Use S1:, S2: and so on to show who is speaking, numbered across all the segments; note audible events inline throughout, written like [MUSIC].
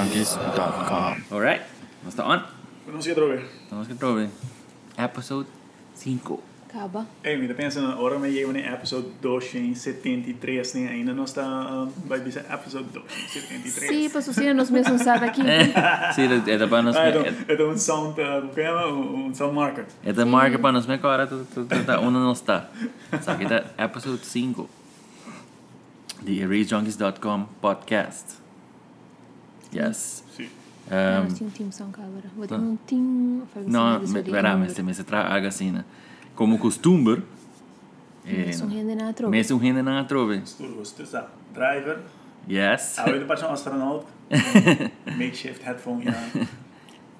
S1: Nerdist.com.
S2: Alright, basta on.
S3: Vamos se droga.
S2: Estamos que prove. Episode 5.
S4: Acaba.
S3: Ei, mira, pensando, ahora me llevo en episode 273, né? Ainda não está. um, Vai dizer episode 273.
S4: Sí, pues ustedes nos me usar aquí.
S2: É. Sí, esta para nos...
S3: Ah, então, então um sound. uh, Como que chama? Um um sound marker.
S2: Esta marca para nos mejora, uno no está. So, aquí está episode 5. The EraseJunkies.com podcast. Yes.
S3: Sim.
S2: Um,
S4: Nós tínhamos team são cabra. Vou ter um team.
S2: no, me, verá, me, se me se trae algo así, né? Como Eh, costumbre,
S4: É um rende na troca.
S2: me se un gente não trove.
S3: Você está. Driver.
S2: Yes.
S3: Ainda para um astronauta. Makeshift headphone. Yeah.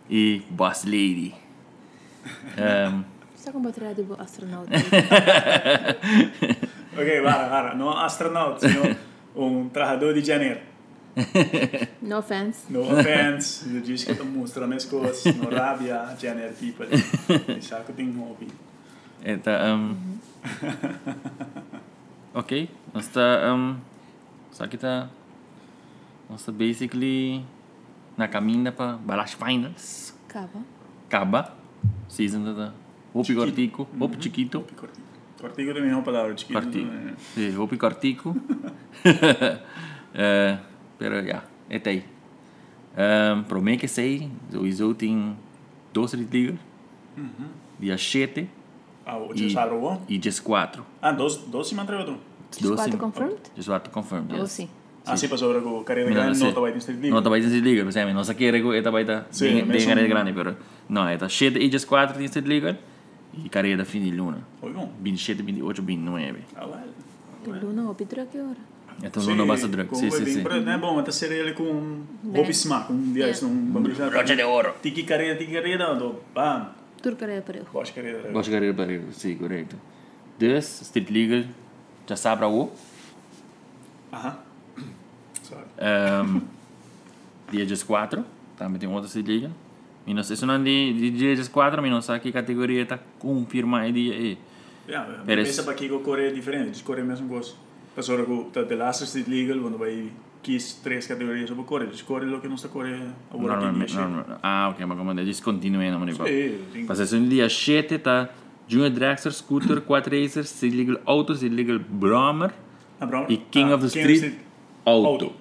S2: E boss lady. Um,
S4: Só com bateria do astronauta.
S3: Ok, vara, vara. Não astronauta, senão um trabalhador de janeiro.
S4: No offense.
S3: No offense. Eu disse que estou mostrando as coisas. No rabia, janeiro people. Deixar que eu tenho um hobby.
S2: Eta, um, ok, nós tá, um, só que tá, nós tá basically na caminha para Balash Finals,
S4: Acaba.
S2: acaba, season da- da, Hopi Cortico, Hopi Chiquito,
S3: Cortigo. Cortigo também é uma palavra chiquita.
S2: Cortico,
S3: né?
S2: sí, Hopi Cortico, Eh, pero já, é tá aí. Um, pro mim que sei, o tem 12 ligas, dia 7
S3: Ah, o
S2: e,
S3: Cesaro, ó.
S2: e dia 4.
S3: Ah, dois, dois se manteve tu.
S4: Just quatro confirmed?
S2: Just quatro confirmed,
S4: Ou
S2: yes.
S4: sim.
S3: Ah, sim, passou agora com carreira
S2: Mira,
S3: grande,
S2: sí.
S3: não estava aí no Street League.
S2: No está país en Street League, o sea, no saqué rego, esta país está
S3: Sí,
S2: bien
S3: me
S2: bien
S3: son-
S2: carrera grande, pero no, esta 7 y just 4 en Street League y carrera fin de luna.
S3: Foi bom.
S2: 27, 28, 29.
S3: Ah, vale.
S4: Do Luna ou Pitra que hora?
S2: Esta es luna basta drug, sí, sí, sí.
S3: Não é bom, mas tá sendo ele com um
S4: Bem.
S3: Bobby Smack, um dia, isso, um bambuja.
S2: Broche de oro.
S3: Tiki carreira, tiki carreira, do bam.
S4: Turca era parejo.
S3: Bosch carreira.
S2: Vas a carrera para sí, correcto. Entonces, Street League ya sabrá o
S3: Aham. Sorry. [LAUGHS]
S2: um, dia just 4, também tem outra Street League. E não sei se não de de dia just 4, mas não sei que categoria está confirmada aí dia aí.
S3: Yeah,
S2: Pérez.
S3: pensa para aqui que o Coreia é diferente, o Coreia é o mesmo gosto. Passou agora com The Last Street League, quando vai quis três categorias sobre o Coreia. O Coreia é o que não está Coreia agora aqui
S2: Normalmente,
S3: mexe.
S2: normal- Ah, ok, mas como é descontinuei na manipulação.
S3: Sim, sim.
S2: Mas esse é um dia 7, tá? Junior Dragster, Scooter, Quad Racer, Street Legal Auto, Street Legal Brahmer
S3: Ah, Brown-
S2: e King
S3: ah,
S2: of the Street Auto.
S3: Auto.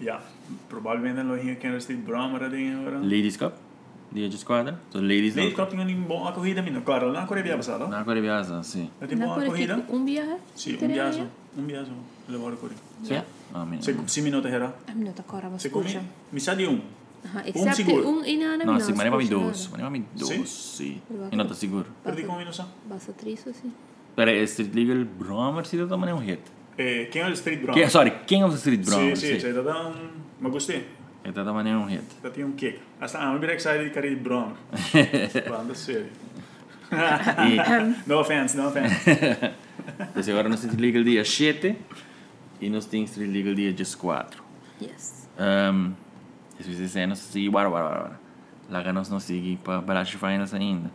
S3: Yeah. Provavelmente não ia King of the Street Brahma tem agora.
S2: Ladies Cup, dia de esquadra. Então, Ladies
S3: Lady
S2: Cup.
S3: Cup tinha uma boa corrida, menino. Claro, na Coreia passada.
S2: Na Corebiasa, sim.
S3: Ela tinha
S4: Na
S3: uma boa
S4: Coreia
S3: corrida.
S4: tem um viaje?
S3: Sim, um biazo. Um biazo. Levou a Coreia.
S2: Sim? Ah, minha.
S3: Se minutos era.
S4: tá A minha outra cora vai
S3: Se
S4: ser.
S3: come, me sai de um.
S4: Except
S3: seguro.
S4: um e nada.
S2: Não, sim, mas é para mim dois. Mas é para mim dois, sim.
S4: Provável.
S2: E não tá seguro.
S3: Perdi com um minuto.
S4: Basta três ou assim? sim.
S2: Pera, é Street Legal Brahmer, se tá também é um hit.
S3: King of the Street Brahma.
S2: Que- Sorry, King of the Street
S3: Sim,
S2: Brahmer,
S3: sim.
S2: sim.
S3: Você dá um... Mas gostei.
S2: Ele tá também é um hit.
S3: Dat tinha um kick. Asta, ah, I'm very excited de Caribe Brown. Banda séria.
S2: E-
S3: [LAUGHS] No offense, no offense.
S2: Entonces agora nós temos Legal dia 7 e nós temos Street Legal dia 14.
S4: Yes.
S2: Um, é, se vocês disserem, nós seguimos, bora, bora, bora, bora. Lá nós não seguimos para Balash Finals ainda.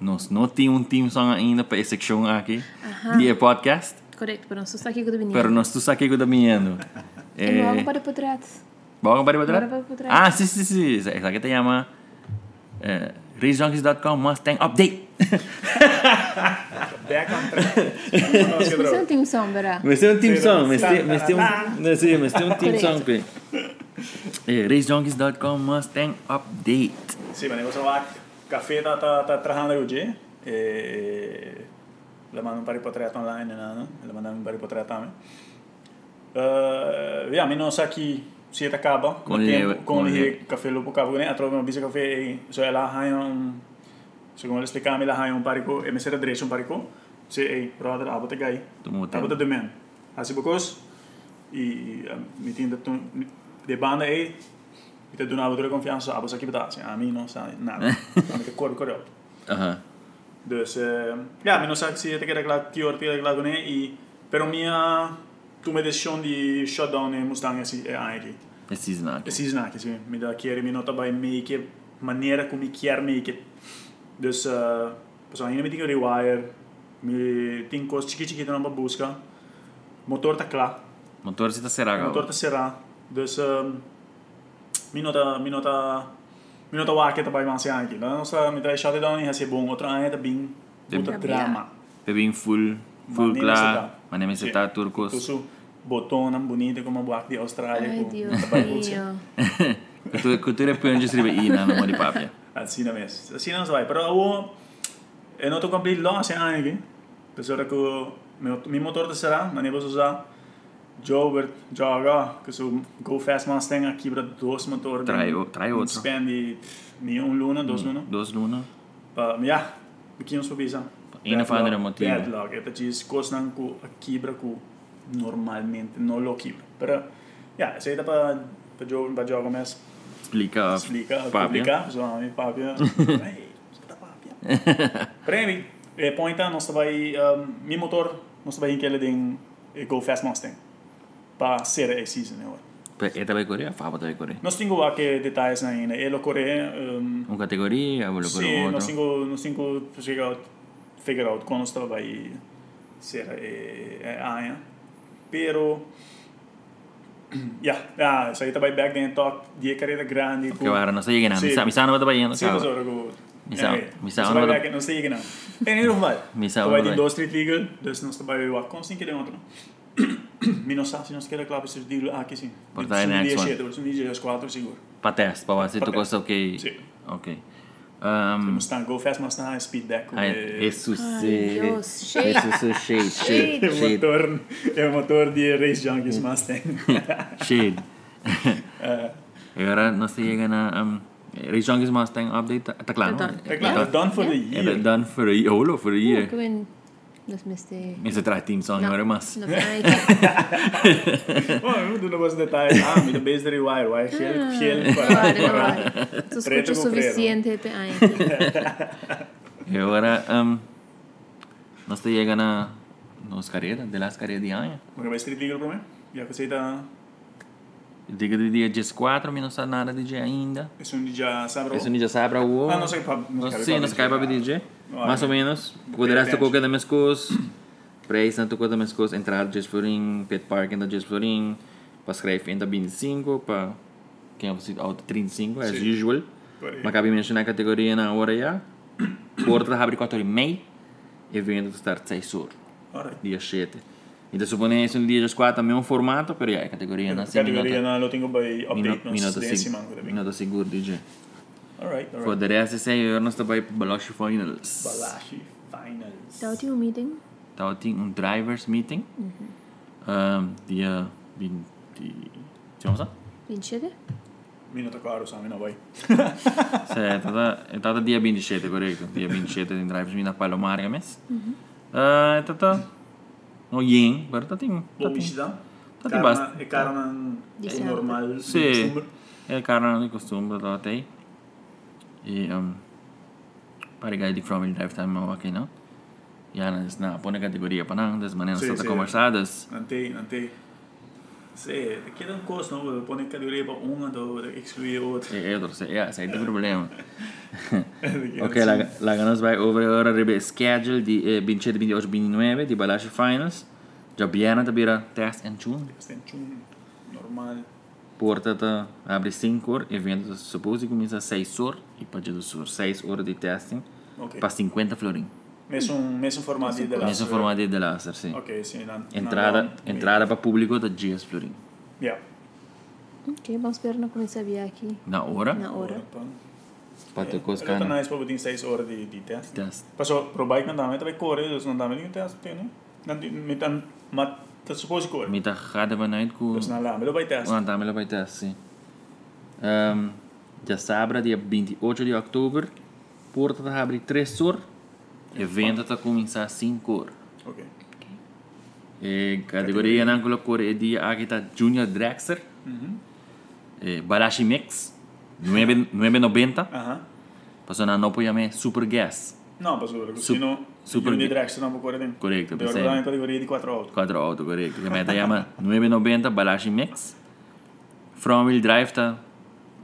S2: Nós não temos um time song ainda para essa seção aqui, dia podcast,
S4: Correto, pero não sou só aqui com o menino.
S2: mas nós estamos aqui caminhando.
S4: é. E não
S2: Eh, é.
S4: vamos para o trás.
S2: Vamos para
S4: Bora
S2: para
S4: para
S2: trás?
S4: trás.
S2: Ah, sim, sim, sim. Essa essa aqui se chama eh, RaceJunkies.com Mustang Update. [LAUGHS]
S3: Back on [LAUGHS] track. Nossa, que
S4: Mas
S3: droga.
S4: não tem um som, verá?
S2: Mas tem um team song, mas tem, mas tem um,
S3: Ah.
S2: não sei, mas tem um
S4: [LAUGHS]
S2: team song que é racejunkies.com Mustang update.
S3: Sim, mas negócio lá, ah, café tá, tá, tá trajando aí o dia. Eh, Le mandam para ir para trás online, né? Le mandam para ir para trás também. Uh, yeah, menos aqui, se ele acaba,
S2: Com
S3: no tempo,
S2: ele-
S3: com
S2: com
S3: ele
S2: ele.
S3: café lobo cabo, né? Atrás uma bicha café, e só ela arranha um... Segundo ele explicava, ela arranha um parico, e me será direito um parico. Se, ei, brother, ah, abota gai.
S2: Tomou tempo.
S3: Abota domen. Assim, bocos, e um, me tinha de banda aí, e te donava toda a confiança, abota aqui para A mim não sabe nada. A mim que corre, corre, corre.
S2: Aham.
S3: Dus eh, ja, men sa si te kera klak ti orti kera klak ne i pero mia tu me decision di shutdown e Mustang eh, si e anche.
S2: Esse snack.
S3: E si snack si mi da chiere mi nota by make it maniera come chiar make it. Dus eh so io mi dico rewire mi tinko chiki chiki da namba busca motor ta kla
S2: Motor se tá será
S3: motor ta sera dus eh minuta, minuta, minuta vaket och bara man ser anki. Då så mitt i chatet då ni har se bon och träna det bing.
S2: Det-
S3: Uta drama.
S2: Bebin full, full
S3: Manimi
S2: klar.
S3: seta.
S2: Manemi
S3: Sí.
S2: seta turcos.
S3: Tusu botonen bonito como buak di Australia.
S4: Ai,
S3: com-
S4: Deus
S3: trabalho com você.
S4: meu.
S2: Cultura pionge sribe ina na mori papia.
S3: Assim não é. Assim não vai. Pero eh, o eu não tô complete lá sem anki. Pessoa que o meu meu motor de será, mas nem vou usar. Joe jaga, que o Go Fast Mustang aqui para dois motores.
S2: Trai o- trai outro.
S3: Spend nenhum luna, dois luna.
S2: Dos luna.
S3: Pa, maar ja, we kunnen ons voorbij zijn.
S2: Een of andere motief.
S3: Padlock. Het is kosten ku kibra ku normalmente no lo kibra. Pero ja, se dat pa pa jo pa jo mes
S2: Explica
S3: explica,
S2: papia.
S3: publica, so mi papia. Hey, sta papia. Premi, e pointa nós ah, vai um, mi motor, nós vai inkele din eh, Go Fast Mustang. Pa serie A season né, ora.
S2: Pe eh, eta be Corea, fa bota be Corea.
S3: Nós tingo a que detalhes na ina, e lo core um,
S2: Un categoria, volo
S3: Sì,
S2: Corea
S3: non
S2: otro.
S3: singo, non singo figure out, figure out quando stava vai eh, sera e, e aia. Pero [CLEARS THROAT] ah, ja, ja, så hittade jag tá back then talk, de carriera grandi.
S2: Che vara, non stai ganando.
S3: Sì.
S2: Mi sa, mi sa non bota bene.
S3: Sì, cosa ora go.
S2: Mi sa- mi sa
S3: non
S2: una-
S3: back non stai gena. E in ogni fall.
S2: Mi sa
S3: Tu
S2: una-
S3: vai di due street legal, dus non stava vai con sin che [CLEARS THROAT] dentro. Mi non sa se non scheda clap se di a che sì.
S2: Portare next one.
S3: Sono 10 4 sicuro.
S2: Pa test, pa va, se tu
S3: Pa
S2: cosa ok.
S3: Sì.
S2: Ok. Um,
S3: Mustang go fast, Mustang speed back. eh,
S2: Jesus,
S4: Ay, Dios, shake.
S2: Jesus, shade, shade,
S3: É o
S2: shade,
S3: motor, é o motor de Race Junkies Mustang.
S2: shade. E ora non stai ganando. Um, Rijongis Mustang update, ta claro.
S4: Tá claro.
S3: É claro,
S2: Tá-
S3: done for the
S2: É da-
S3: year.
S2: done for a year, holo for a year.
S4: Ik ben... Dat is miste...
S2: Mi sa tra team song, ora mas.
S4: Dat is
S3: Oh, eu não gosto de detalhes. Ah, me base de rewire, vai,
S4: Ah,
S3: gel,
S4: Mm.
S3: gel, [LAUGHS] para.
S4: Het is
S3: Preto
S4: goed
S3: com preto.
S4: suficiente pe
S3: [LAUGHS]
S4: ai.
S2: E ora um, non stai ganando nos carreira, de las carreira di anno.
S3: Mas vai street legal para mim? Já que você está,
S2: Dico di dia 4, mi non sa nada di DJ ainda.
S3: é um dia sabro.
S2: E se non già saprà uovo.
S3: Ah, não sei, pá,
S2: Non sei, non sky proprio DJ.
S3: No,
S2: Mas o menos, poderás tu coca da minha escola, preis na tu coca da minha escola, entrar no Jazz Florin, Pet Park ainda Jazz Florin, para escrever ainda 25, para quem é possível, auto 35, as usual.
S3: Correto.
S2: Mas cabe mencionar a categoria na hora já. Porta abre 4 e meia, e vendo estar 6 horas,
S3: Ora,
S2: dia 7. Então, suponho que no dia 4 é o mesmo formato, mas é a categoria na
S3: categoria não, eu tenho bem update
S2: Minuto,
S3: nos
S2: minuto,
S3: desse
S2: sim.
S3: mango também.
S2: Minuto seguro, DJ.
S3: Alright, alright.
S2: Poderia ser 6 horas, nós também para Balashi Finals.
S3: Balashi Finals.
S4: Houdt u een meeting?
S2: Então tem um drivers meeting. Um, dia 20. Temos lá?
S4: Vincere?
S3: Minuto caro, sabe, não vai.
S2: [LAUGHS] Certo, então dia 27, correto. Dia 27 tem drivers meeting na Palomar, é mesmo? Ah, Então tá. No yen, agora tá tem. Tá
S3: Bom,
S2: tem.
S3: bichidão.
S2: Tá tem bastante.
S3: É caro, não
S4: Disse
S3: eh, normal.
S2: Sim.
S3: costume.
S2: É cara de costume, tá até aí. E. Um, para guy de From Drive Time, não aqui não. E a na põe categoria para não, das maneiras
S3: Sim,
S2: que
S3: sim.
S2: conversadas.
S3: Ante, ante. Se, te queda un costo, ¿no? Pone categoría para uno, do, excluye otro. [LAUGHS]
S2: É outro, é, esse é o problema.
S3: Te
S2: Ok,
S3: queda
S2: la,
S3: así.
S2: la ganas vai over ora ribe schedule di eh, 27, 28, 29 di Balashi Finals. Già Biana te bira test and tune.
S3: Está en chun, normal.
S2: Porta te abre 5 ore, evento supposi comincia a 6 ore e pagina do sur 6 ore di testing
S3: Ok.
S2: pa 50 florin.
S3: Mes un, mes un formato de la...
S2: Messo formato di laser, sì.
S3: Ok, sí. Na,
S2: Entrada,
S3: na,
S2: entrada pa pubblico da GS florin.
S3: Yeah.
S4: Ok, vamos ver na começar a aqui.
S2: Na ora,
S4: Na hora.
S2: pa te
S3: Ora,
S2: coscana
S3: É, na espo botin 6 horas de, de test.
S2: test.
S3: Paso, pro bike não dá, mas também corre, não dá, mas não tem teste, né? Não tem, mas tam, mas, tá supose corre.
S2: Mi ta gade vanuit ku
S3: Mas não dá, mas não vai teste.
S2: Want daarmee loopt het test, sim. Um, de Sabra, assim. dia 28 de outubro, porta da abre 3 horas e venda está a começar 5 horas.
S3: Ok.
S2: E categoria na cor é dia aqui está Junior Drexler,
S3: Uhum.
S2: e Balashi Mix, 990,
S3: Aham.
S2: passou na não apoiamento Super Gas,
S3: Não, paso,
S2: Sup-
S3: se não...
S2: super-
S3: Unidrex, não vou correr.
S2: Correcto,
S3: Eu
S2: pensei.
S3: vou dar em categoria de 4 autos.
S2: 4 auto, correto. Que tá meta chama 990 Balashi Mix, From Wheel Drive está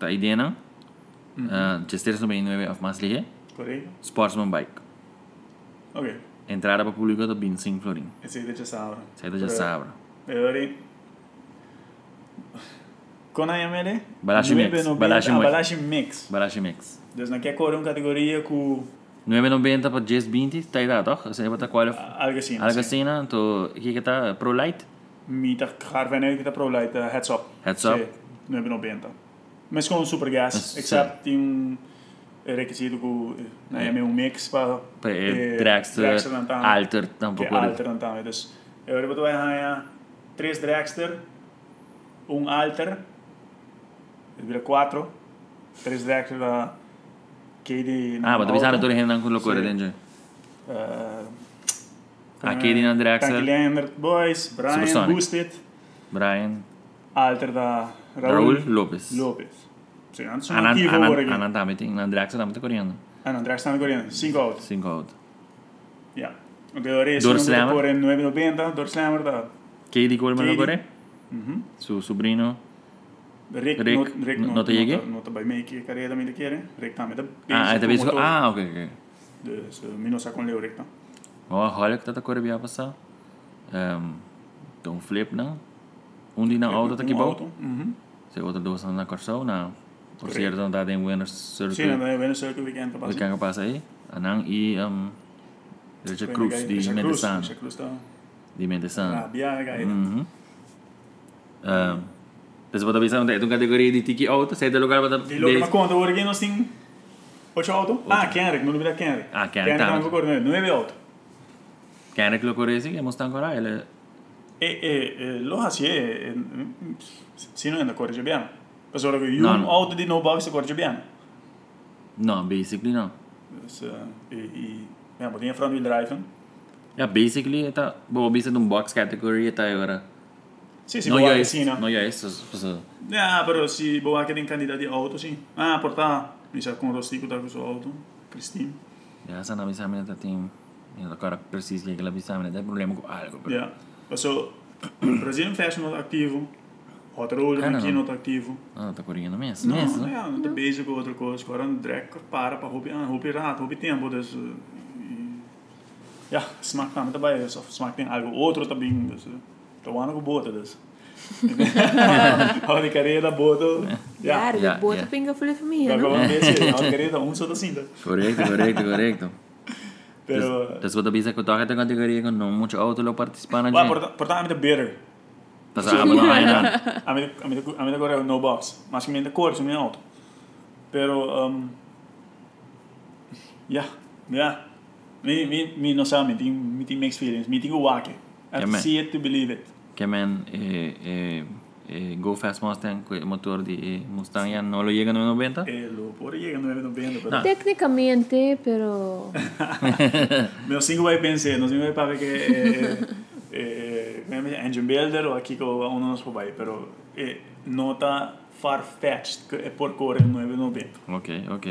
S2: tá aí dentro, uh, 399 of Maslihe,
S3: Correto?
S2: Sportsman Bike.
S3: Ok.
S2: Entrada para público do 25 florim.
S3: Esse aí deixa essa aula.
S2: Saída já sabra.
S3: Eu ali. Con AML,
S2: Balashi Mix,
S3: 9,90
S2: Balashi Mix.
S3: a Balashi Ah, Mix.
S2: Balashi Mix.
S3: Deci não quer cobrar uma categoria com
S2: 990 para 1020, está aí, tá? Você vai estar qualificado.
S3: algo assim.
S2: Algo assim, né? então aqui que está Pro Light.
S3: Mita gaar wij nu dat pro light heads up.
S2: Heads up.
S3: Sì, Noi abbiamo benta. Ma è un super gas,
S2: Sì.
S3: except in eh, un requisito che noi abbiamo un mix per eh,
S2: Para pues, Dragster, Alter,
S3: Che
S2: tampouco.
S3: alter dan dan. Dus we hebben twee gaan tres dragster, un alter, il vira quattro, eh, tres dragster da che di
S2: Ah, mas tu pensava que ele não colocou,
S3: Sì.
S2: entende?
S3: Ah,
S2: Ah, che di een dragster.
S3: Boys, Brian
S2: Supersonic.
S3: Boosted.
S2: Brian,
S3: Alter eh, da Raul,
S2: Raul Lopez.
S3: Lopez. Sim, antes um
S2: Anan,
S3: ativo agora
S2: Anan,
S3: aqui.
S2: Anan também tem, na Draxa também tem coreano.
S3: Ah, não, Drax está na Coreia. 5 out.
S2: 5 out.
S3: Yeah. O que eu orei,
S2: Door
S3: se não
S2: Slammer.
S3: por em 990, Dor Slammer da
S2: Katie Coleman
S3: Katie.
S2: agora? Seu sobrinho.
S3: Rick.
S2: Rick,
S3: not- Rick,
S2: no-
S3: not-
S2: not te llegue?
S3: not- Not by make carreira da minha queira. Rick também da
S2: Ah, aí também.
S3: Ah.
S2: Ah, ok, ok.
S3: Mino sa com leu Rick tá.
S2: Ó, olha que tá cor bia passar. Ehm, Então, flip, não? Um dia na outra tá que bom.
S3: Uhum.
S2: Se outra duas na corção, não. Por
S3: Correct.
S2: certo, não tá em Winners
S3: Sim, não
S2: Circle.
S3: é bem certo que weekend tá
S2: O que
S3: passando.
S2: é que passa aí? Anan e ehm, Richard Cruz de Mendesan.
S3: Richard Cruz tá.
S2: De
S3: Ah,
S2: Mendesan.
S3: Bia, gai.
S2: Uhum. Ehm, Dessa bota pensando, é uma categoria de tiki auto, sai do lugar para
S3: De logo na conta, o Orguinos tem 8 auto. Ah, Kenrick, não duvida Kenrick.
S2: Ah, Kenrick,
S3: tá.
S2: tá.
S3: Kenrick tá no 9 auto.
S2: Quem é que colocou esse? Que mostra agora? Ele
S3: E, e, e lo hasi e, e eh, mm, si noi andiamo a correre bene per solo che
S2: No,
S3: io
S2: no.
S3: auto di no box correre bene
S2: Não, basically não.
S3: Dus, eh, e, e ja, moet in front wheel drive
S2: Yeah, basically tá bom, bisa num box category tá agora.
S3: sì si
S2: Não
S3: può
S2: é
S3: anche
S2: isso,
S3: sì no
S2: não é isso. pessoal.
S3: ah però si può anche in candidati auto sì ah porta mi sa con Rostico da questo auto Christine
S2: Essa não bisa minha tá tem. Eu agora preciso que aquela bisa minha tem problema com algo. bro.
S3: ja per so [CLEARS THROAT] Brazilian Fashion not attivo Hot Roller
S2: Ah, no,
S3: McKee
S2: no.
S3: not attivo
S2: Ah, tá correndo mesmo.
S3: no eh.
S2: Mesmo.
S3: ja non ti basic o altre cose ora un drag para per hobby ah, hobby rato hobby tempo dus eh, Ja, smaakt naar met erbij. Dus, of smaakt in eigen auto te bieden. Dus, eh, dat waren ook boten dus. Hou die carrière boten. Ja.
S4: Claro,
S2: Ja,
S4: boa
S2: ja.
S4: tu pinga folha pra mim,
S3: Dat
S4: não?
S3: gewoon een beetje. Hou die carrière ons zo te zien. dus.
S2: Correto, correto, correto.
S3: [LAUGHS] Pero, eh,
S2: Então, você bisa que toca da categoria que não muito auto lo participar na
S3: Maar
S2: gente.
S3: porta- é porta aan met de better.
S2: Tá sabendo [LAUGHS] não
S3: [LAUGHS]
S2: ainda.
S3: Aan met de- aan met de- aan met de correo, no box. Maar als je me in de koord, is je me in de auto. Pero, ehm, ja, ja. Mi, mi, mi, no sa, mi, ting- mi, ting mixed feelings. Mi, ting wake. I have to
S2: Jamen.
S3: see it to believe it.
S2: Que men eh eh Go Fast Mustang, que motor de eh, Mustang já não lo chega no 90.
S3: Eh, lo por llegar no me no vendo, pero...
S4: Tecnicamente, pero.
S3: Meu single vai pensar, não single vai para que eh, é, é, é, é engine builder ou aqui que eu não nos vai, pero é nota far-fetched que é por cor no é no bem.
S2: Ok, ok.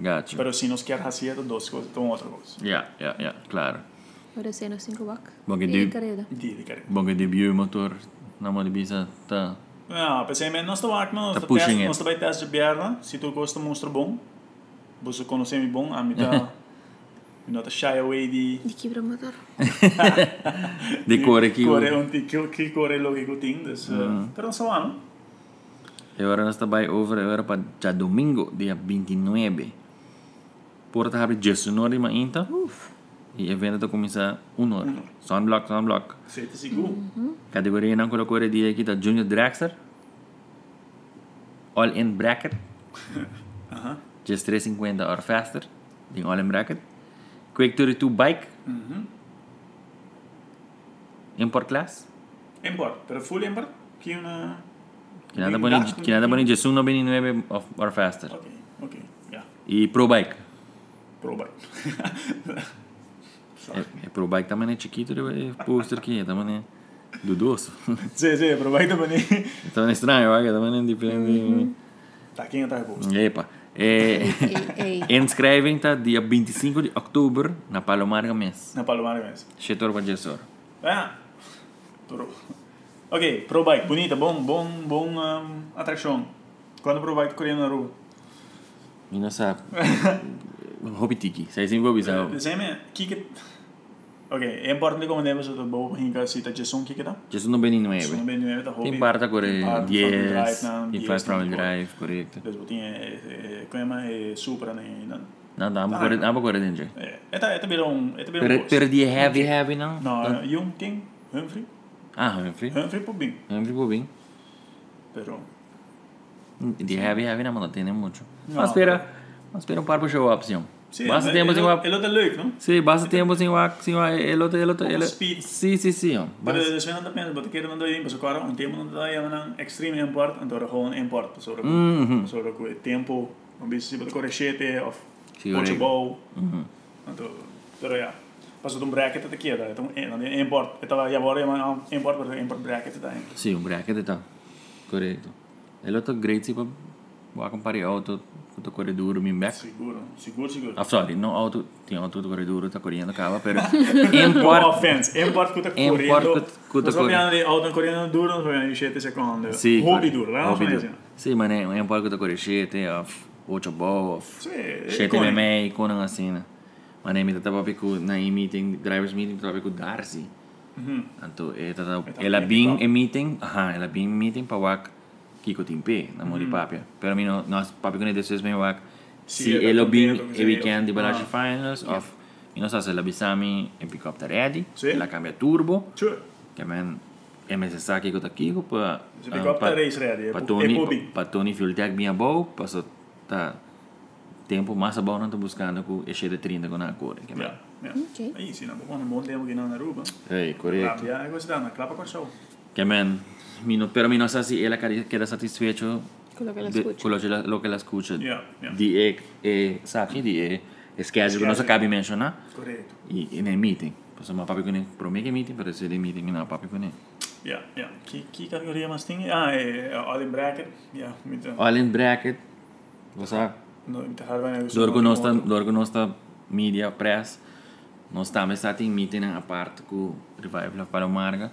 S2: Gacho.
S3: Pero se nos quer fazer duas coisas, então outra coisa.
S2: Ja, ja, ja, claro.
S4: Agora sei no 5 buck.
S2: Mag ik
S4: E
S2: die-
S4: carreira.
S3: Dile, cara.
S2: Bom, debut motor na Molibisa tá.
S3: Não, pensei, mas nós estamos aqui, nós
S2: Tá pushing it.
S3: estamos bem teste de perna, se tu gosta monstro bom, você conhece me bom, a mim [LAUGHS] tá não tá shy away de
S4: De quebra motor.
S2: De cor aqui.
S3: cor é um que que cor é logo que eu tenho, mas pero só ano.
S2: E agora nós estamos over agora para já domingo, dia 29. Porta abre 19 ainda.
S4: Uf.
S2: então. E evento tá começar 1 hora. Sunblock, sunblock.
S3: Sei te seguro.
S2: Categoria não colocou a dia aqui tá Junior Dragster. All in bracket.
S3: Aham.
S2: Just 350 or faster. Ding all in bracket. Quick 32 bike.
S3: Mhm.
S2: Import class.
S3: Import, pero full import? Que una...
S2: Que nada bonito, que nada
S3: né?
S2: bonito, just 1.29 of- or faster.
S3: Ok, ok, yeah,
S2: E pro bike.
S3: [LAUGHS] proba.
S2: É, é pro bike também é chiquito, é pôster que é, também é do doce. [LAUGHS]
S3: sí, sí, proba ahí también.
S2: também é estranho, olha, também é diferente.
S3: Está quem atrás de vos.
S2: Epa. É, [LAUGHS]
S4: Ei, ei.
S2: inscrevem tá dia 25 de outubro na Palomarga Mês.
S3: Na Palomar mesmo.
S2: Chetor Badgesor.
S3: Ah, pro. Ok, proba aí, bonita, bom, bom, bom um, atração. Quando proba aí, correndo na rua.
S2: [LAUGHS] E não sabe. Hobby Tiki, sai sem bobi, sabe?
S3: Dizem-me, que que... Ok, é importante como deve ser boa hinga se tá Jesus que que tá?
S2: Just 99.
S3: Sono ben nueve tá
S2: Tem barta
S3: Tem
S2: Coreia.
S3: barra, front drive,
S2: Yes.
S3: não,
S2: E
S3: yes,
S2: faz para
S3: tem
S2: drive, correto.
S3: Depois tinha como é Supra nem não.
S2: Não, dá
S3: Tá.
S2: uma Coreia, dá uma Coreia dentro.
S3: É, é tá é tá bem um, é tá bem um.
S2: Per-
S3: gosto.
S2: Perdi heavy, heavy, não?
S3: Não, e um tem Humphrey,
S2: Ah, Humphrey.
S3: Humphrey por bem,
S2: Humphrey Bobin.
S3: pero
S2: De heavy, heavy, não, não tem nem muito.
S3: Não.
S2: Mas espera, mas espera um par para show up, senhor. Basta tempo sem o
S3: ele,
S2: up.
S3: ele é leuk, não?
S2: Sim, basta tempo sem o up, senhor. Ele outro, ele outro, ele.
S3: speed.
S2: Sim, sim, sim, ó.
S3: Pero
S2: Basta-
S3: de Sven anda pensando, porque ele mandou aí, mas agora um tempo não tá llaman extreme import, então era home import, sobre
S2: Mhm.
S3: sobre o tempo, um bicho tipo de correchete of
S2: Sí, correcto.
S3: futebol. Então, pero já. Passou de um bracket até aqui, tá? Então, é, não é import. Eu tava agora llaman import, ah, pero import bracket tá.
S2: Sim, um bracket e tal. Correto. Ele outro great, tipo, vou comparar auto, outro corredor, me back.
S3: Seguro, seguro, seguro.
S2: Ah, sorry, não auto, tinha auto do corredor, tá correndo, acaba,
S3: [LAUGHS]
S2: pero.
S3: No
S2: Import.
S3: offense, import que tá
S2: Import
S3: correndo.
S2: que- que tá
S3: Nós vamos ver, auto correndo duro, nós vamos ver 7 segundos.
S2: Sim.
S3: Hobby
S2: correto.
S3: duro, né?
S2: Hobby
S3: Vamos
S2: duro. Sim, mas é um pouco da correchete, of ocho ball, of
S3: Sim,
S2: shit MMA, conan assim, né? Mas nem me tava com na meeting, drivers meeting, tava com Darcy. Então, é tava ela bem em meeting, aha, ela bem em meeting para wak Kiko Timpe, na mori papia. Pero mim nós papi com desses bem wak.
S3: Sí,
S2: Se
S3: era
S2: ele
S3: también,
S2: bem
S3: también,
S2: e weekend de
S3: ah.
S2: balance finals of e nós ela bisami em pick up da ready,
S3: Sí.
S2: ela cambia turbo.
S3: Sure.
S2: Que men, é necessário que eu tá ah, aqui para
S3: Você pegou a race ready, é
S2: para
S3: pro- é pro
S2: Tony,
S3: bem.
S2: para Tony Fueltec minha boa, passa tá tempo massa bom não tô buscando com é cheio de 30 com na cor, que men.
S3: Yeah, yeah.
S4: Ok.
S3: Aí, sim, não, bom, não tempo que não na Aruba.
S2: Ei, correto.
S3: Rápido, é coisa dana, clapa com show.
S2: Que men, mino, pero mino sa si ela cari- queda satisfecho
S4: Con lo que la
S2: de-
S4: escucha.
S2: con lo que la, lo que la escucha.
S3: Yeah, yeah.
S2: Di é, é, sabe, di é, esquece que não se cabe mencionar
S3: Correto.
S2: e e nem meeting. Passa uma papi com ele, para mim que meeting, para ser de meeting, não papi com ele.
S3: Yeah, yeah. Que, que categoria mais tem? Ah, é, é All in Bracket. øh, Yeah, muito.
S2: All in bracket, você sabe?
S3: Não, muito raro vai negociar.
S2: Dorgo nosta, dorgo nosta media press, nós estamos sati em meeting a parte com Revival para o Marga,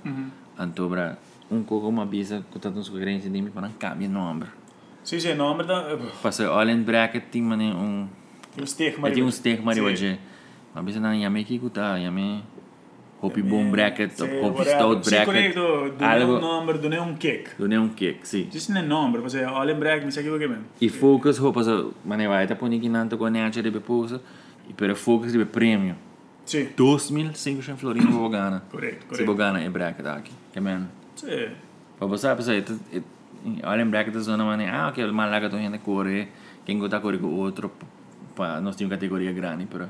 S2: antobra um pouco uma bisa que está nos sugerência de mim para não cambiar número.
S3: Sim, sim, nome da...
S2: Passa all in bracket tem mané um,
S3: Tem um steak,
S2: é tem um steak mari
S3: Sim.
S2: hoje. Uma bisa não ia me que cuta, ia me hopi bom
S3: Sim,
S2: bracket,
S3: sim,
S2: hopi
S3: whatever.
S2: stout
S3: Sim,
S2: bracket.
S3: correto. Do não
S2: Algo,
S3: nome, do não cake.
S2: do nenhum kick, sim.
S3: Isso não é nome, você é All in Bracket, me segue o que mesmo.
S2: E focus hopas mané vai tá pondo aqui na antagonista de pousa, e para focus de prêmio.
S3: Sim,
S2: 2005 florin vou ganhar.
S3: correto,
S2: Se
S3: correto.
S2: vou ganhar é bracket aqui. Que men.
S3: Sim.
S2: Para você pensar, olha em bracket da zona mané, ah, ok, mas lá que tô indo correr, é. quem gosta correr com outro, para nós temos categoria grande, pero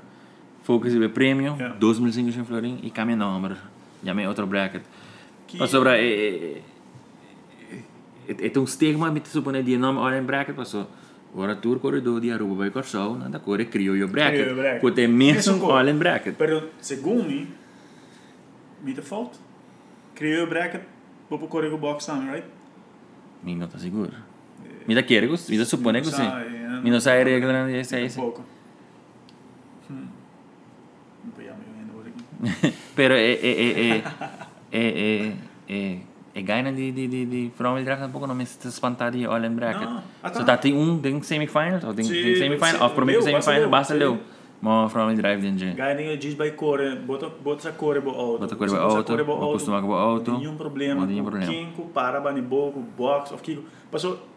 S2: focus e prêmio,
S3: Yeah.
S2: 2005 florin e cambia número. Já me é outro bracket.
S3: Que-
S2: Para sobre é é é um estigma me supone de nome olha em bracket passou. Ora tour corredor de Aruba vai Corsol, nada corre criou o
S3: Criollo bracket.
S2: bracket. Com tem mesmo
S3: Mesmo
S2: olha em bracket.
S3: Pero segundo mim, me default, criei o bracket, vou pro corrego box também, right?
S2: Mi no está seguro. Mira, quiere, gus- mira, supone que sí.
S3: sabe, eh,
S2: Mi no sabe regla, ni esa, esa.
S3: um Pouco. Hum. Não vou me vendo hoje aqui.
S2: Pero, eh, eh, eh, eh, eh, eh, eh, eh, gana de, de, de, de From el Draft tampoco no me está espantado de All in Bracket.
S3: No, ah,
S2: so,
S3: tá.
S2: tá, tem um, tem semifinal, ou tem,
S3: Sí,
S2: tem semifinal, ou
S3: sí,
S2: prometo
S3: leu,
S2: semifinal,
S3: basta
S2: basta
S3: leu,
S2: leu. Mas From el Drive, gente.
S3: Guiding a diz by core, bota, bota essa core bo auto.
S2: É. Bota core bo
S3: Essa
S2: auto,
S3: core bo
S2: vou acostumar com bo auto.
S3: Não tem Nenhum problema.
S2: Não tem nenhum
S3: com
S2: problema.
S3: Kinko, parabani, bobo, box, of Kiko. Passou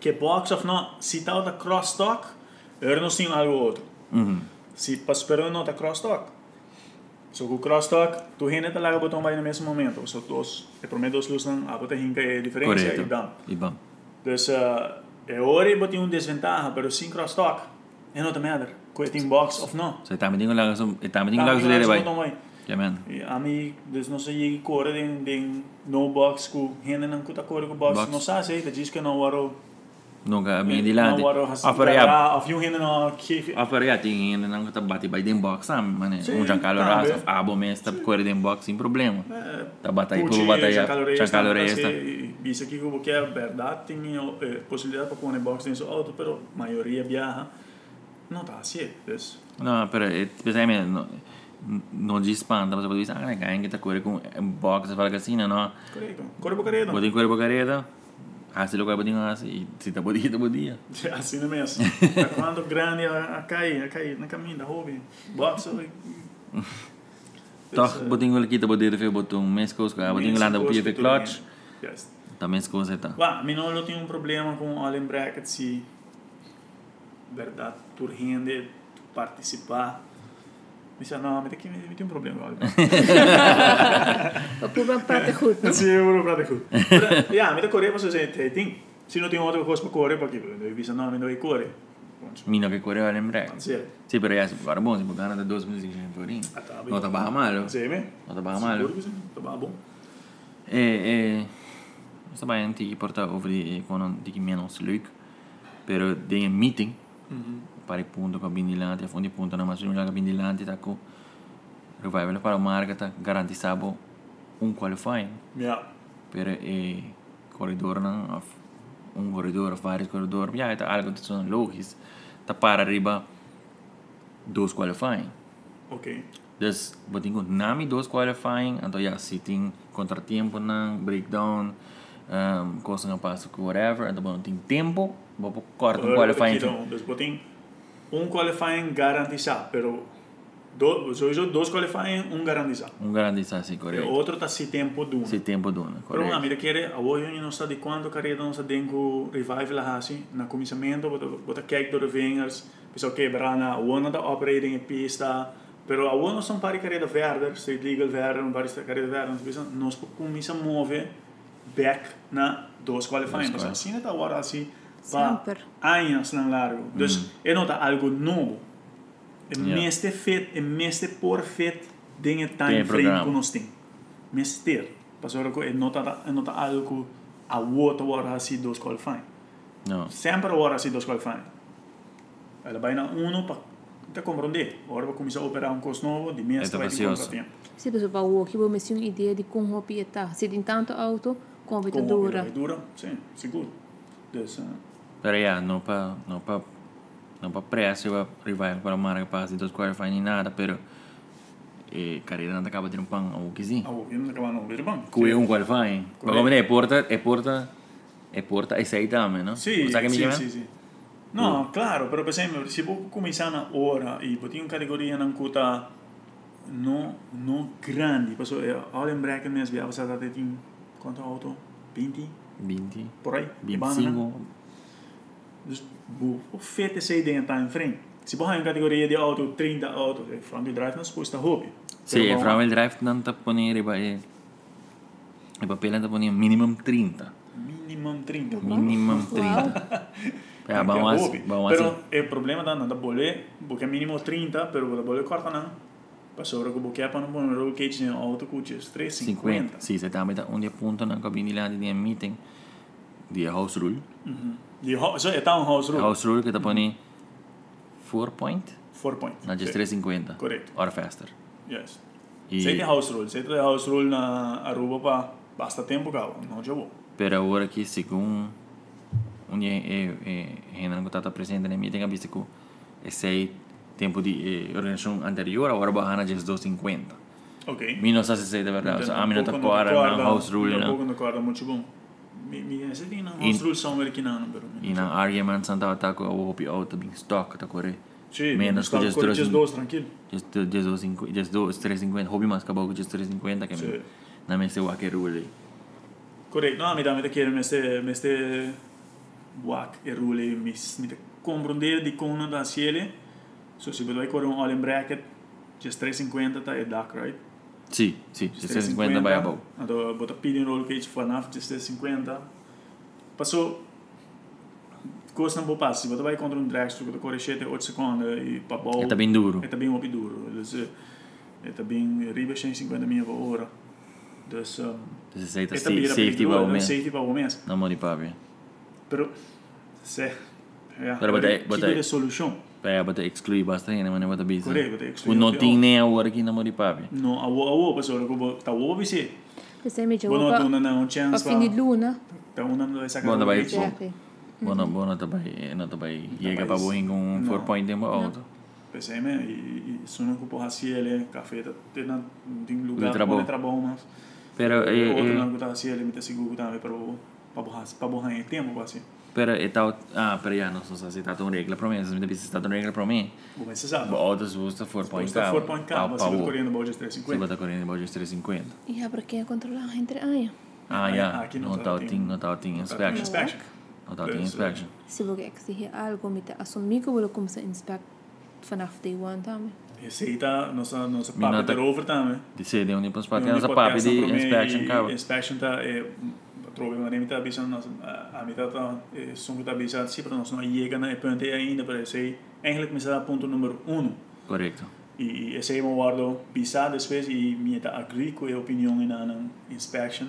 S3: que box of não, se tal da crosstalk, eu não sei algo outro.
S2: Uhum.
S3: Se passou pelo não da crosstalk. So, com crosstalk, tu rende até lá o botão vai no mesmo momento. So, dos, é prometo dos luzes, a bota rinca é diferença e dá.
S2: Correto. E bom.
S3: Dus eh, é hora eu botei um desvantagem, mas sem crosstalk, é nada matter. Coisa em box ou não.
S2: So, tá me digo lá, so, tá me digo lá,
S3: Tá,
S2: so, dele vai.
S3: botão vai.
S2: Yeah, man.
S3: E Eh, A mim, dus não sei que cor tem tem no box com renda não cuta cor com box,
S2: Box.
S3: não sei se ele diz que eh, não waro.
S2: Nunca me de lá.
S3: Não waro has.
S2: Ah, peraí, ah,
S3: Of you renda não que
S2: Ah, pare, tem ainda não tá bate by den box, sabe, mano?
S3: Sim,
S2: Um Giancarlo
S3: tá,
S2: Rasov,
S3: bem.
S2: ah, bom, mas tá correndo den box sem problema. Tá bate aí,
S3: Pucci,
S2: povo bate aí,
S3: Eh, Giancarlo
S2: Giancarlo
S3: Reyes,
S2: Resta.
S3: e Isso aqui que eu que é verdade, tem eh, possibilidade para pôr em box nesse auto, pero a maioria viaja. Não tá assim, dus.
S2: Não, pera, especialmente, não, não diz espanta, mas eu vou dizer, ah, né, ganha tá correndo com um box, você fala que assim, né, não?
S3: Correto. Cor bocaredo.
S2: Botem correndo pra careta, assim, lugar, botem assim, e se tá podia, tá podia.
S3: É [LAUGHS] assim não é mesmo. Quando grande a, a cair, a cair na caminho da Ruby, boxe.
S2: Toch botingo le kita bodir fe botun mescos ka botingo landa pie fe clutch.
S3: Yes.
S2: Ta mescos eta.
S3: Va, men jag har un problem um com Allen Bracket se verdade tu rende, tu participar. Me disse, "Ah, não, mas tem que me tem um problema com Allen Bracket.
S4: Och Kuba pratar skjut nu.
S3: Sim, eu vou pratar com. Ja, mas a Coreia você dizer, tem, tem. Se não tem outra coisa para Coreia, para que? Eu disse, não, mas não é Coreia.
S2: Mina che correva l'embrec.
S3: Sim.
S2: Sì, però io guarda buono, si può ganare da 12 minuti in Turin.
S3: Ah, tá bem.
S2: Non ti va male.
S3: Sim, né?
S2: Non ti va male.
S3: Tá bom.
S2: E e sta bene ti porta over di con un di meno sluk. Però di un meeting. Pari punto con bindilanti, a fondi punto na massima la bindilanti tacco. Revival para marca garantissavo un qualifying.
S3: Ja.
S2: per eh, corridor nan, of un corridor of varios corridor ja het algo dat son logisch ta para riba dos qualifying
S3: Okej.
S2: dus wat ingo nami dos qualifying anto ja sitting contratiempo nan breakdown um, kosten een passo whatever anto bon ting tempo bo po corto un qualifying fe-
S3: Então, botem um qualifying garantizado, pero do, sowieso dois qualifying, um garantizado.
S2: un garantizatie
S3: O
S2: correct
S3: outro tá se tempo do um.
S2: se tempo dona
S3: Pero a
S2: correct
S3: mira quiere, a hoje eu não sei de quando carreira não sei dengo revival assim, na começamento, bota bota kijk door de vingers, pessoal quebrar na one da operating pista, pero a one são pare carreira verder, street legal verder, um pare carreira verder, pessoal nós começa a mover back na dos qualifying,
S2: Dos
S3: pessoal assim tá agora assim,
S4: Sempre.
S3: anos não
S2: Mm.
S3: largo, dus é nota algo novo. É
S2: Ja.
S3: meste fit, é meste por fit, dinge time
S2: Tem
S3: frame
S2: programa.
S3: com nós tem. Mester, pastor que eh, nota nota algo a outro hora assim dos qualifying.
S2: no
S3: Sempre hora assim dos qualifying. Ela vai na uno para te compreender. Agora vai começar a operar um curso novo de mês
S2: Esta
S3: vai ter
S2: preciosa.
S3: contratempo.
S4: Se du bara åker, jag måste ju en idé om hur hoppet är. där. Se din tante auto, kommer vi
S3: Com
S4: att
S3: o operador
S4: dura.
S3: vai dura, sim, seguro. Des, uh,
S2: Pero ya, no pa, no pa, no pa pressa, eu rival para marca passa dos qualifying nem nada, pero eh, e carreira não acaba de um pão ou que sim.
S3: a ouvir não acaba não ver bom.
S2: Que é um qualifying. Mas
S3: Correct.
S2: como é porta, é porta, é porta e sai também, não?
S3: Sì,
S2: o que me
S3: sì,
S2: chama?
S3: sì, sì. No, claro, però per esempio, se può cominciare ora, e poi in categoria non ancora non, non grandi, perché eh, Allen Bracken mi abbiamo stato in quanto auto? 20?
S2: 20,
S3: Por aí?
S2: 25.
S3: Dus, boh, o fete sei dentro time frame. Se può in categoria di auto 30 auto, eh, Frank Drive non sposta hobby.
S2: Sim, é para o drive não tá poner e vai e papel tá poner minimum 30.
S3: Minimum 30.
S2: Minimum 30. É, vamos assim, vamos
S3: Pero
S2: assim.
S3: il problema da non da bolle, perché minimo 30, però la bolle corta non. Passò ora che bocchia per un roll cage in auto cucci 350.
S2: 50. Sim, você também tá onde aponta na cabine lá de um meeting de house rule.
S3: Di ho, so è town um house rule,
S2: House rule que tá pondo 4 point,
S3: 4 point.
S2: na just 350.
S3: Correct.
S2: Or faster.
S3: Yes.
S2: E,
S3: Se di house rule, se di house rule na Aruba pa basta tempo cavo, non c'è vuoi.
S2: pero agora que segundo um, onde é Renan né? que está presente na meeting, a vista que esse é tempo de eh, organização anterior, agora barra just 250.
S3: Ok. Então, um
S2: Mim não sei se é de verdade, a mim não tá
S3: ancora
S2: na house rule, né?
S3: Un
S2: não.
S3: poco non um corda, molto buono. Mi mi se di na house rule somewhere che non però.
S2: E na argument santa ataque o hopi out being stock tá corre.
S3: Sì,
S2: Menos que
S3: sta
S2: just
S3: ancora
S2: 350.
S3: just dos tranquillo.
S2: Just 250, just 350, hopi mais acabou com just 350 que é
S3: Sì.
S2: na minha se o que rule.
S3: Correct, no, mi dá me quer meste meste wak e rule mis mi te comprender di cono da ciele. So si vedo ancora un all in bracket just 350 ta e duck, right?
S2: Sim, sim,
S3: Just
S2: just 350 vai above.
S3: Ando bota pidi roll cage for enough just 350. Passou Costa não vou passar, você vai contra um dragster que corre 7, 8 segundos e para bom.
S2: É tá bem duro.
S3: Está bem op duro. Dus, eh, está bem riba 150 mil por hora. Dus, um,
S2: Você aceita
S3: Esta mira
S2: tá safety
S3: peligrosa,
S2: vai
S3: não é
S2: aumentar.
S3: safety para o Gomes.
S2: Não morre papi.
S3: Pero, se, é,
S2: Pero botei- botei.
S3: Que solução?
S2: Pera, bota exclui bastante, né? Mas bota bisa.
S3: Correto, bota exclui,
S2: O não
S3: bota
S2: tem
S3: out.
S2: nem a hora que não morre papi.
S3: Não, a boa, a boa, pessoal, que vou, tá boa, vice.
S4: Det ser mycket
S3: Vou não
S4: ut.
S3: dar um chance
S4: Vad fin i Luna.
S3: Tá um não vai sacar.
S2: Bom, tá bem,
S3: um
S2: bom. Bona, bona, tá bem. Não tá bem. Chega pra boim com um
S3: Não.
S2: 4 point tempo alto.
S3: Pensei, né? E, e, e se não ocupou raciele, café, tá tendo um
S2: Letra boa.
S3: lugar para letra bom, mas...
S2: Pero, eh,
S3: Outro
S2: eh,
S3: não que eu tava assim, ele me disse que tava para o para borrar, para borrar em tempo, para assim.
S2: pero e tal, ah, pero ya, no sé si está tu regla para mí, si me dices está tu regla para mí.
S3: Bom, mas você sabe.
S2: Outras buscas for para
S3: Se
S2: en
S3: você
S2: cabo.
S3: for para em casa, você vai correndo balde de
S2: Se
S3: 350.
S2: bota correndo em balde 350.
S4: E é porque é controlar entre aia.
S2: Ah,
S3: Ah,
S2: já.
S3: aqui não
S2: No
S3: tá
S2: tal
S3: tem-
S2: thing, no tal thing inspection.
S3: Inspection. Inspection.
S2: No tal thing
S3: Yes, yeah.
S2: inspection.
S4: Se você exigir algo, me te assumir que eu vou começar a inspect vanaf day one também.
S3: Receita, nossa, nossa
S2: Minha
S3: papo
S2: nota-
S3: de over também.
S2: Disse de onde para
S3: Não,
S2: spacar essa papi
S3: nem podcast,
S2: de
S3: não, pra mim,
S2: inspection cabo.
S3: Inspection tá, é, trove uma nem tá avisando, nossa, a, a mitad tá, é, som que tá avisando, sim, para nós não chega na ponte ainda, para esse aí, eigenlijk me está ponto número 1.
S2: Correcto.
S3: E esse aí eu guardo pisar depois e minha tá agree com a opinião na na inspection,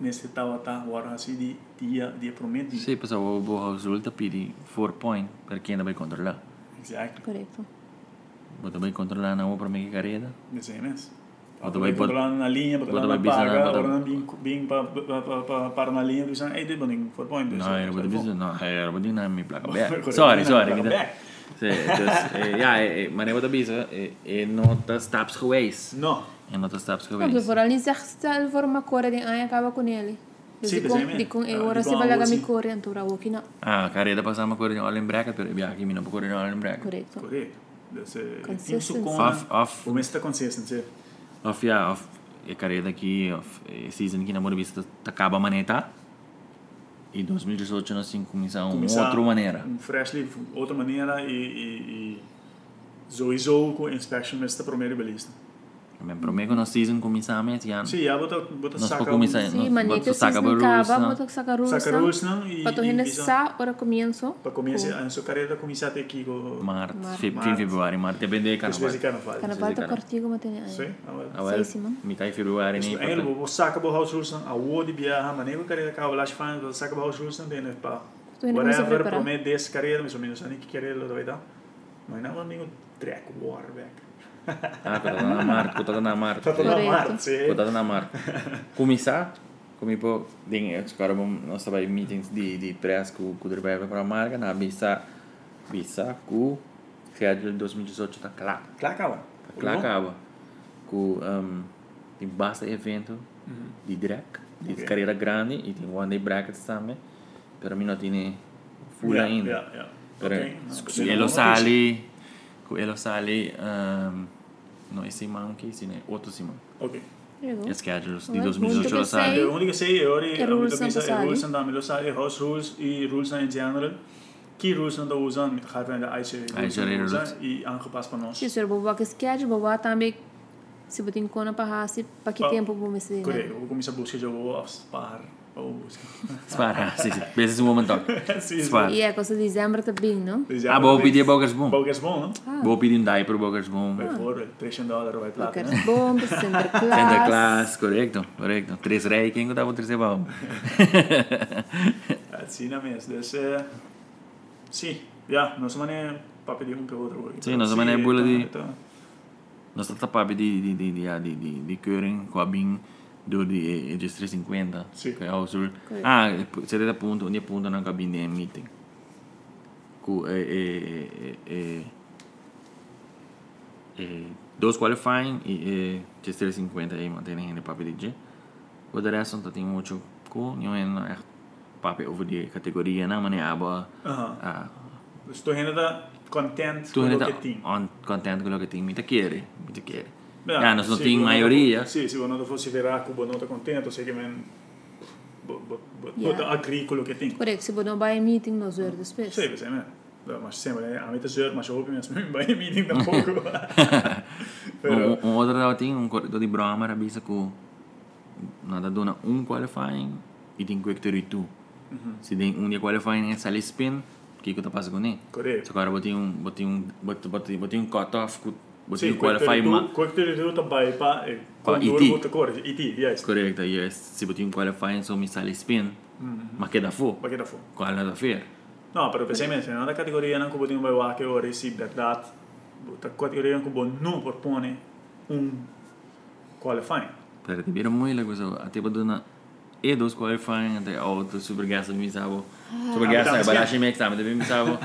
S3: nesse tal tá guardo assim de dia, dia prometido.
S2: Sim, pessoal, o bom resulta pedi 4 point, porque ainda vai controlar.
S3: Exacto.
S4: Correto.
S2: Bota vai controlar na outra minha carreira.
S3: De CMS.
S2: Bota vai bot-
S3: botar na linha, botar
S2: bota
S3: na
S2: vai bisar,
S3: paga,
S2: bota-
S3: agora não vim, vim pa- pa- pa- pa- para na linha, dizem, ei, de boning, for point. dus,
S2: Não, era
S3: eh,
S2: bota
S3: zo-
S2: bisar, não, era bota na minha placa back.
S3: Correcto,
S2: Sorry,
S3: na
S2: sorry.
S3: placa
S2: kita-
S3: back.
S2: Sim, dus, eh, ja, eh, eh, maar hij bota bisar, e não tá staps geweest.
S3: No,
S2: E não tá staps
S4: Mas se
S2: geweest.
S4: for ali, se você for uma cor de aia, acaba com ele.
S3: Sim,
S4: Então,
S3: mas é mesmo.
S4: de com
S3: Ah,
S4: eu, agora
S3: de
S4: se
S3: com
S4: vai
S3: a
S4: largar
S3: outra,
S4: minha
S3: sim.
S4: cor, então eu vou aqui não.
S2: Ah, carreira passamos correndo olha em bracket, pero viaja aqui, não por correndo olha em bracket.
S4: Correto.
S3: correto. Dus, eh,
S4: Consistency.
S3: Team Sucona,
S2: Off, off,
S3: o mês está consistente, sim.
S2: off, yeah, off. E carreira aqui, off, eh, season aqui na Bota Vista acaba a maneta. E 2018 nós sim começamos
S3: Começar
S2: outra maneira.
S3: Um freshly, outra maneira e... e, e Sowieso com inspection tá nesta primeira belista.
S2: Me promei que nós season começamos esse ano.
S3: Sim, já bota, bota
S2: Nós
S3: saca
S2: para começar,
S3: um-
S2: nós
S4: Sim, mas nem
S2: bota
S4: que
S2: saca
S4: vocês
S2: para
S4: não
S2: rules,
S4: acaba,
S2: não?
S4: botar saca rules.
S3: saca rules não e...
S4: Para tu
S3: e
S4: render
S3: visa-
S4: essa hora começo.
S3: Para começar, a sua carreira começar até aqui com...
S2: Martes,
S4: Martes.
S2: 15 fevereiro, martes, depende de
S3: Depois de
S2: carnaval.
S3: carnaval.
S4: Carnaval
S2: Sim,
S4: está
S2: cara.
S4: cortigo, mas tem aia.
S3: Sim, Ah, agora.
S2: Agora,
S4: Sei, Simão.
S2: mitad de fevereiro,
S3: Dus
S2: nem
S3: eigenlijk we zakken behoud Roelsen, a woord die bij haar, maar nee, we kunnen elkaar wel laten van, dat zakken behoud Roelsen, dan heb
S4: Toen
S3: je
S4: hebben we
S3: né?
S4: ze
S3: whatever,
S4: preparado.
S3: promet deze carrière, maar zo minus aan die carrière, dat weet dat. Maar nou wel nieuw trek, war Tá weg.
S2: Ah, pero na martes, cotada na
S3: Dat is
S2: martes.
S3: wel
S4: Correcto.
S3: maar, zie
S2: Cotada na martes. Começar, comi pô, ding, os caras vão, nós trabalhamos meetings de, de press com com o trabalho para a marca, na visa, visa, com, schedule 2018 está claro.
S3: Klaar kan
S2: Tá claro, acaba. Com, um, tem bastante evento de drag, de
S3: Uhum. Ok.
S2: carreira grande, e tem one day brackets também, pero mim não tem full ainda.
S3: Ja, ja.
S2: Pero elo sale, cu elo sale, um, no esse mão que esse, né? Outro esse mão.
S3: Oké.
S4: Chegou.
S2: É schedules de
S4: Mas
S2: 2018
S4: Hum? muito
S2: ela sale.
S3: De única sei é hora
S4: E rules
S3: também
S4: aan
S3: sei
S4: te sali.
S3: rules and também sale house rules e rules in general. Que rules and usam mit gaat aan de IC rules e aangepast van ons.
S4: Se o senhor bobo que esquece, bobo também. Se você tem cona para raça, para que
S3: Pa-
S4: tempo vou me seguir? né?
S3: Correto, eu vou começar a oh, buscar jogo aos par.
S2: [LAUGHS] Spara, sim, sim. Vezes um
S3: [LAUGHS]
S2: momento. Spara.
S4: E é coisa de dezembro também, não?
S2: Ah, vou pedir bogas bom.
S3: Bogas bom, não?
S2: Vou pedir um diaper bogas bom.
S3: Vai por 300 dólares, vai plata, eh.
S4: Quero
S3: né?
S4: bombas, [LAUGHS] sempre
S2: Santa
S4: classe.
S2: class, correto, correto. Três rei, quem que dava um terceiro bom?
S3: Assim na mesa. Desse... Sim, já, nós somos para pedir um para o outro.
S2: Zie, nou, ze mannen boelen die- Nós tá tapado de de de de de de de curing com a bin do de eh, de 350.
S3: Sim.
S2: Que é o sul.
S4: Correto.
S2: Ah, 70 pontos, onde ponto na cabine de meeting. Com eh eh eh, eh eh eh dois qualifying e eh de 350 aí mantém ainda papel de G. O de resto não tem muito com, não é papel over de categoria, não, mas é aba
S3: Aham.
S2: ah,
S3: Estou ainda contente
S2: Tu
S3: com
S2: ainda
S3: o
S2: tá
S3: que tem.
S2: on, contente com o que tem, muita querer, muita querer. Ah, nós não tem maioria.
S3: Sim, se eu não fosse virar Cuba, não estou contente, eu sei que men... boh, bo- bo- bo-
S4: Ja.
S3: Bota agrícola que tem.
S4: Correto, se um você não vai em meeting, nós vamos depois.
S3: Sim, você mesmo. Mas sempre, eh, a meta é mas eu roubo mesmo, vai em mim tampouco.
S2: Um, um outro dava tem um corredor de Brahma, rabisa com nada dona um qualifying e tem quick 32. Se tem um de qualifying é sale spin, o que que tá passando com ele?
S3: Correto.
S2: Só que agora botei um, botei um, botei, botei, botei um cut-off, com- botei
S3: Sim,
S2: um qualifying ma...
S3: Cocktail do também para
S2: Pa
S3: condor
S2: IT.
S3: outra cor, IT, yes.
S2: Correto, yes. Se botei um qualifying só me sale spin, mas que dá fo,
S3: Para que tá fora.
S2: qual nada fair.
S3: Não, para pensei mesmo, não da categoria não que eu tenho vai lá que eu recebi verdade. Da categoria que eu não propõe um qualifying.
S2: Pero te vieron muy la cosa, a tipo de una e dois qualifying até outro super gas me sabo. Super gas
S3: Ah,
S2: é
S3: mas
S2: balashi me exame, também me sabo.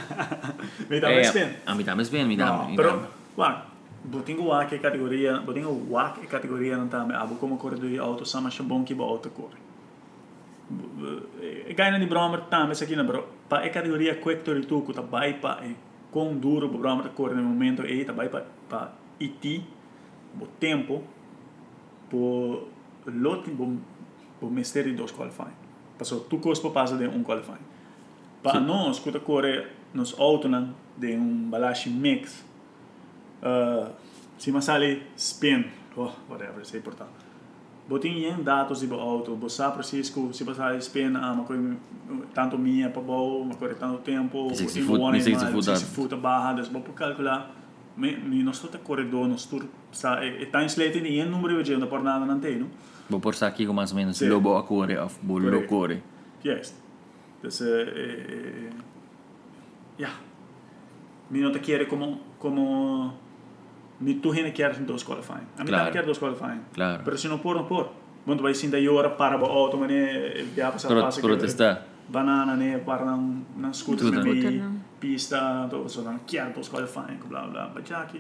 S3: Me dá mais bem.
S2: ah, A mim também bem, me dá.
S3: Não, pero, ué, Botingo wak e kategoria, botingo wak e kategoria não tá, abo como cor do auto sama shabon ki ba auto cor. Gaina di bromer tá, mas aqui na bro, pa e kategoria quector e tuco tá bai pa e com duro bo bromer cor no momento e tá bai pa pa iti bo tempo bo lote bo bo mesteri dos qualifying. Passou tu cos pa passa de um qualifying. Pa nós, escuta corre nos auto nan de um balashi mix. Uh, se me sale spin, oh, whatever, sei portar. Botin yen dados iba auto, bo sa Francisco, se me sale spin, ah, ma coi tanto minha pa bo, ma coi tanto tempo,
S2: Misik si
S3: botin
S2: fut-
S3: one
S2: misik
S3: ma-
S2: si fut
S3: misik
S2: dat.
S3: si fut a barra, des bo por calcular. Me, me nos tota corredor, nos tur, sa, e, e tá insleito em um número de gente, por nada não tem, não?
S2: Vou por aqui com mais ou menos
S3: Sim.
S2: lobo a core of bolo
S3: Correct.
S2: core.
S3: Yes. Entonces, eh, eh, ya. Mi no te quiere como, como, ni tú gente quiere dos qualifying. A mí
S2: Claro.
S3: también quiere dos qualifying.
S2: Claro.
S3: Pero si no por, no por. Bueno, vais sin de llorar para oh, bo auto, mané, ya pasar
S2: Pro- protestar.
S3: Banana, né, para não, não escuta,
S2: Tudo.
S4: Scooter,
S3: me
S4: não.
S3: pista, todo isso, não quero dos qualifying, blá, blá, blá, já que,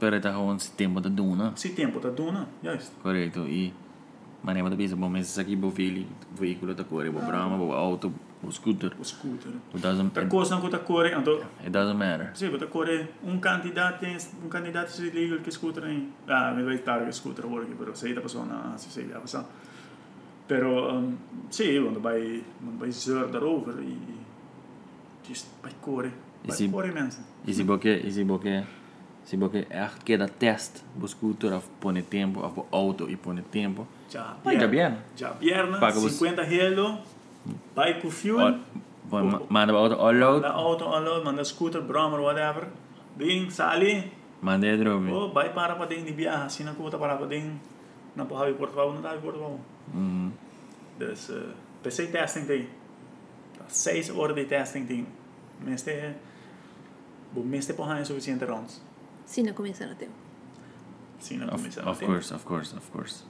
S2: Pero tá com esse tempo da duna.
S3: se tempo tá duna, yes.
S2: Correto. E maneira da pisa, bom, mas isso aqui bo veículo, veículo da core, bo brama, bo auto, bo scooter.
S3: O scooter.
S2: It doesn't
S3: Tá
S2: it,
S3: coisa, não tá corre, então,
S2: it doesn't matter.
S3: Sì, potete correre un candidato, un candidato si lì che scuotere in... Ah, mi devi stare che scuotere vuole che però sei da persona, si sei da persona. Però, um, sì, quando vai, quando vai zero da rover, i, just vai correre,
S2: E
S3: vai
S2: si-
S3: correre mensen.
S2: E se boque, e se boque, se boque é a que da test, bo scooter of pone tempo, of bo auto e pone tempo.
S3: Già,
S2: Vai da bien.
S3: Già pierna,
S2: Paga bus-
S3: 50 euro, vai con fuel,
S2: Bom, manda bo auto all out,
S3: la auto allora, manda scooter, brommer, whatever. Ding, sali,
S2: manda drone.
S3: oh, vai para pa ding di biaha, sinakuta para pues, pa ding. Não pa havi portavau, não havi portavau.
S2: Mhm.
S3: Dus eh PC-testing ding. Dat is zes uur die testing ding. Meeste, bo meeste por hangen suficiente rounds. pues,
S4: Sim, não começa no tempo.
S3: Sim, não
S2: Of,
S3: começar.
S2: of course, pues, of course, of course.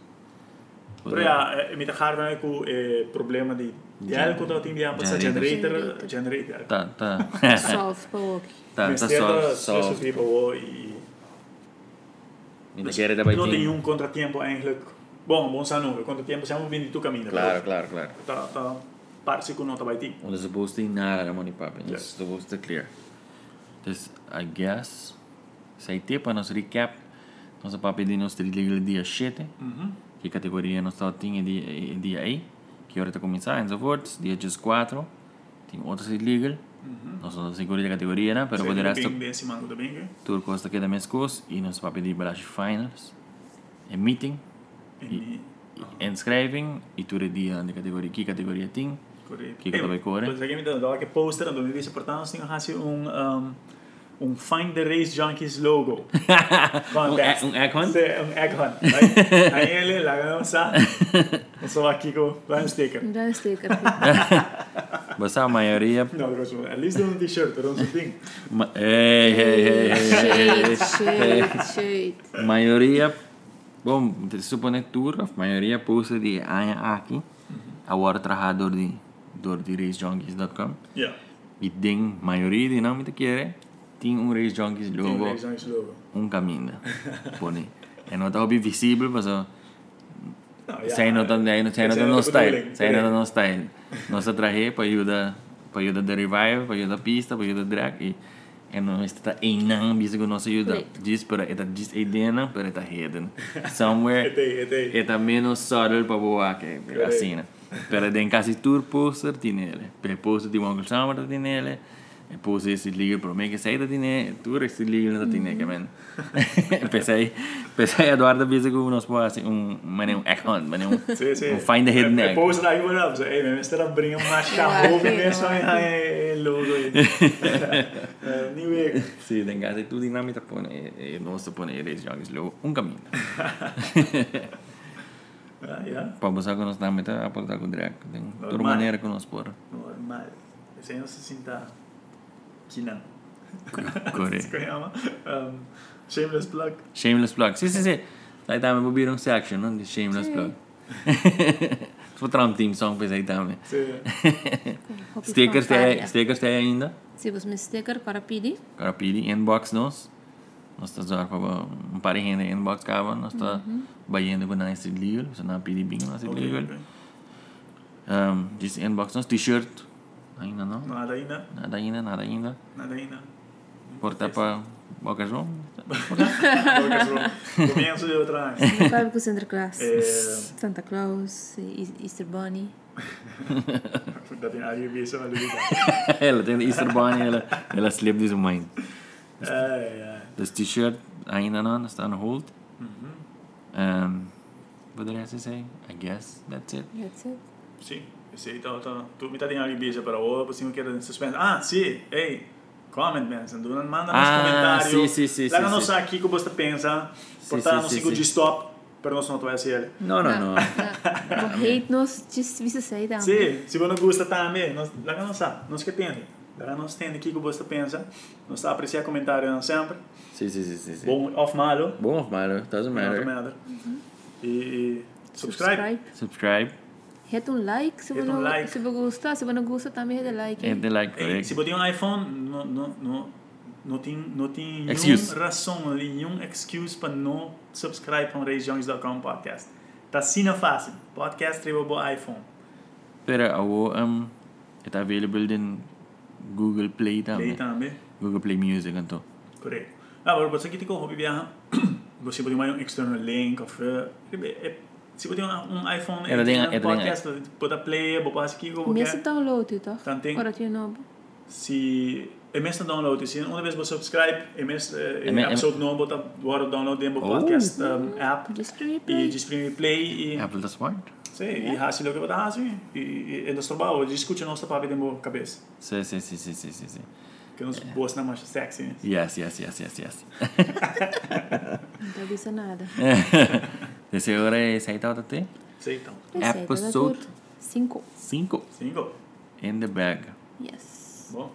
S3: Pero ja, eh, met de gaar ben ik ook eh, problemen die. Die
S2: Gen-
S3: elke dat in die aanpas
S2: generator.
S3: generator, generator.
S2: Tá, tá.
S4: Solve para o walkie.
S2: tá, tá
S3: Meeste
S2: só,
S3: dat
S2: só.
S3: tussen die bouwen, i-
S2: Ainda
S3: dus
S2: quer
S3: Não tem
S2: debater.
S3: um contratempo eigenlijk. Bom, bom sanugo, contratempo siamo venuti tu cammino.
S2: Claro, claro, claro.
S3: Ta, ta, parsi con nota by team.
S2: Well, it's supposed to be nada da money popping. It's
S3: Yes.
S2: supposed to clear. This, I guess, sei tipo nos recap. Nossa papi de nos trilha dia 7. Que categoria nós só tinha dia, eh, dia aí. Que hora tá começar, so forth. Dia 4. Tem outras trilha. Nós não segura da categoria, né? Pero
S3: Se
S2: poderá estar
S3: bem desse mango da bem,
S2: Turco hasta queda mescos e nos papi de balash finals. E meeting,
S3: e
S2: inscribing e tu redia de categoria que categoria tem.
S3: Correto.
S2: Que que também corre.
S3: Pois aqui me dá que poster en 2014 tinha assim um um, um Find the Race Junkies
S2: [LAUGHS]
S3: logo.
S2: Um e- um egg hunt?
S3: Sim, um egg
S2: [LAUGHS]
S3: hunt. Aí- Aí ele lá ganhou sa. Eu sou aqui com um sticker.
S4: Não dá um sticker. [LAUGHS]
S2: Mas a maioria.
S3: Não, eu gosto. At least um t-shirt, or something.
S2: Ma, eh, ei,
S4: É,
S2: ei, ei, ei, ei,
S4: Shade, shade, shade.
S2: ei. Maioria. eh. Bom, te supone tour, a maioria posta de Aya aqui.
S3: Uhum.
S2: Agora trajador de dor de racejunkies.com.
S3: Yeah.
S2: E tem maioria de não me te quer. Tem um race junkies
S3: Tem um
S2: logo.
S3: Race Junkies logo.
S2: um caminho. Pone. É não tá visível, mas ó,
S3: Não, yeah.
S2: sai não tá aí, sai não tá
S3: Sai no
S2: no style,
S3: doodling,
S2: sai não tá
S3: correct.
S2: no style. Nós trazer para ajuda, para ajuda da revive, para ajuda pista, para ajuda drag e é não está em não bisa que nós ajuda.
S4: Correct.
S2: Diz para é tá diz idena, para tá hidden. [LAUGHS] Somewhere
S3: Etei, etei.
S2: é tá menos subtle para boa que assim, né? Pero den casi tour poster tiene ele. Per poster de Uncle Summer tiene ele. E poster esse liga para mim que sai da tiene, tour esse liga não tiene que men. [LAUGHS] Pensei, pensei Eduardo bisa que nós pode assim um, mané um egg hunt, mané um
S3: Sim, sim.
S2: um find the hidden
S3: É,
S2: egg.
S3: Depois daí eu olhava, ei, meu mestre abriu uma charroupa e começou a é
S2: [LAUGHS]
S3: logo Eh, aí. É, New Egg.
S2: Sì, den casi tu dinamita pone e non so pone i race jogos lo un cammino.
S3: Ah, yeah.
S2: Poi posso con nostra meta a portare con direct, den tur
S3: Normal.
S2: maniera con sport.
S3: Normal. Ese no se sienta Kinan.
S2: Corre.
S3: Se llama. Um, shameless plug.
S2: Shameless plug. Sì, sì, sì. Sai dame può dire un section, non di shameless plug. [LAUGHS] Potrà un team song per sai dame.
S3: Sí.
S2: [LAUGHS] Sticker
S4: é,
S2: stai, sticker stai ainda.
S4: Se você me sticker, para pedir.
S2: Agora pedi inbox nos. Nós tá zorpa ba um par de gente in box cava, nós tá baiando com nós legal, você não pedi bem nós
S3: Ok,
S2: legal.
S3: ok.
S2: Um, diz inbox nós t-shirt. Ainda não.
S3: Nada ainda,
S2: Nada ainda, nada ainda.
S3: nada [LAUGHS] ainda.
S2: Porta para Boca João. [LAUGHS]
S3: Comienzo de otra vez.
S4: Vai pro Santa Claus.
S3: Eh,
S4: Santa Claus, e- Easter Bunny.
S3: puta, tiene alguien que hizo la lupita.
S2: [LAUGHS] ela tem Easter Bunny, ela ela sleep this mãe.
S3: Eh, Ay, ay.
S2: Das t-shirt ainda não, está on hold. Um, what did I have to say? I guess that's it.
S4: That's it.
S3: Sí, sí, todo, todo. Tú mitad tiene alguien que hizo, pero vos pues tengo que ir en suspense. Ah, sí, hey, comment, man. Duran, manda
S2: Ah,
S3: nos comentarios.
S2: sí, sí, sí,
S3: Larga
S2: sí,
S3: nos
S2: sí.
S3: aquí como usted piensa.
S2: Sí,
S3: Portada
S2: sí,
S3: no
S2: sí,
S3: sigo
S2: sí.
S3: de stop, pero no te voy a decir.
S2: Não, [LAUGHS] não, não.
S4: Não hate nos, just visa say down.
S3: Sí, si vos nos gusta también, nos, larga nos a, nos que tiene. Larga nos tiene aquí como usted piensa. Nos aprecia comentarios siempre.
S2: Sim, sim, sim, sim. sim.
S3: Bom, off malo.
S2: Bom of matter, doesn't
S3: Matter.
S2: matter.
S3: matter. E, e subscribe.
S2: Subscribe,
S4: Hit um like se
S3: Hit
S4: você
S3: um like.
S4: se você gostar, se você não gosta também hit a like.
S2: hit the like,
S3: Ei,
S2: correct.
S3: se você tem um iPhone, não, não, não, não tem, não tem
S2: Excuse.
S3: nenhuma razão, nenhuma excuse para não subscribe para o reisjones.com podcast. Tá sina fácil. Podcast tribo iPhone.
S2: Pero awo um it's available in Google Play
S3: Lei
S2: também.
S3: também.
S2: Google Play Music então.
S3: tá, Correto. Ah, Agora, você que tem como hobby viajar, [COUGHS] você pode mandar um external link. Ou, eh, eh, se você tem um, um iPhone,
S2: Ela É, tem-
S3: eh,
S2: ela tem-
S3: podcast, pode play, assim, pode passar aqui. como
S4: Começa
S3: quer.
S4: a download, tá?
S3: Tanting.
S4: Ora tu é novo.
S3: se é mesmo download se uma vez você subscribe é mesmo é,
S2: me-
S3: é episode novo bota agora download dentro do
S2: Oh.
S3: podcast um, app
S4: Just to replay.
S3: e desprime play e
S2: Apple tá smart.
S3: sim e rasse o que bota rasse e e é nosso trabalho discute nosso papo dentro da cabeça
S2: Sim, sim, sim, sim, sim, sim, sim.
S3: que nos boas na mais sexy né?
S2: Yes, yes, yes, yes, yes.
S4: Não tá visa nada.
S2: É, Desse hora é saída outra até
S3: sim então
S4: é, tá
S2: Episode.
S4: 5.
S2: 5
S3: cinco
S2: in the bag.
S4: Yes.
S3: bom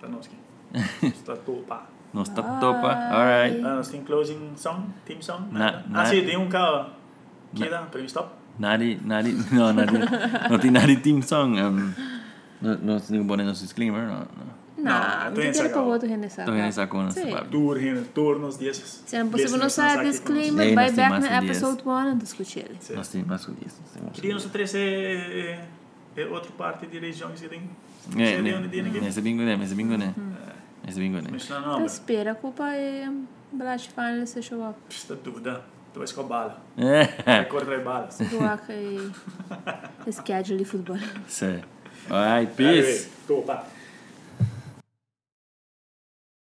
S3: tá nós
S2: [LAUGHS]
S3: aqui está topa
S2: Nós tá topa. All right.
S3: ah, nós tem closing song team song
S2: Na-
S3: nada
S2: na-
S3: ah sim tem um cara que dá para mim stop
S2: Nari, nari, [LAUGHS] no, nari. Não tem nari team song. Um, não, não tem bom nosso disclaimer, não. não.
S3: Não,
S4: Não,
S3: tu é
S4: não quero para
S3: sagal.
S4: o outro rendecer.
S2: Tô ressacando essa
S4: Sim.
S2: parte.
S3: tour turnos desses
S4: Se não possível não sabe,
S2: Nee,
S4: disclaimer,
S2: dat
S4: vai
S2: is die
S4: back
S2: master
S4: na
S2: die is.
S4: episode 1 e discute ele.
S2: Nós temos mais que isso.
S3: Queria nos oferecer é, é, é outra parte de regiões que tem.
S2: É,
S3: Você tem onde tem
S2: né?
S3: ninguém?
S2: Nesse bingo, né? Nesse bingo, né? Nesse bingo, [LAUGHS] né?
S3: Mas não, não,
S4: Então espera, a culpa é Blash Final se show up.
S3: está dúvida. Tu vais com a bala.
S2: É.
S3: Vai correr a bala.
S2: [LAUGHS]
S4: Doaca e schedule de futebol.
S2: Sim. All right, peace.
S3: Topa.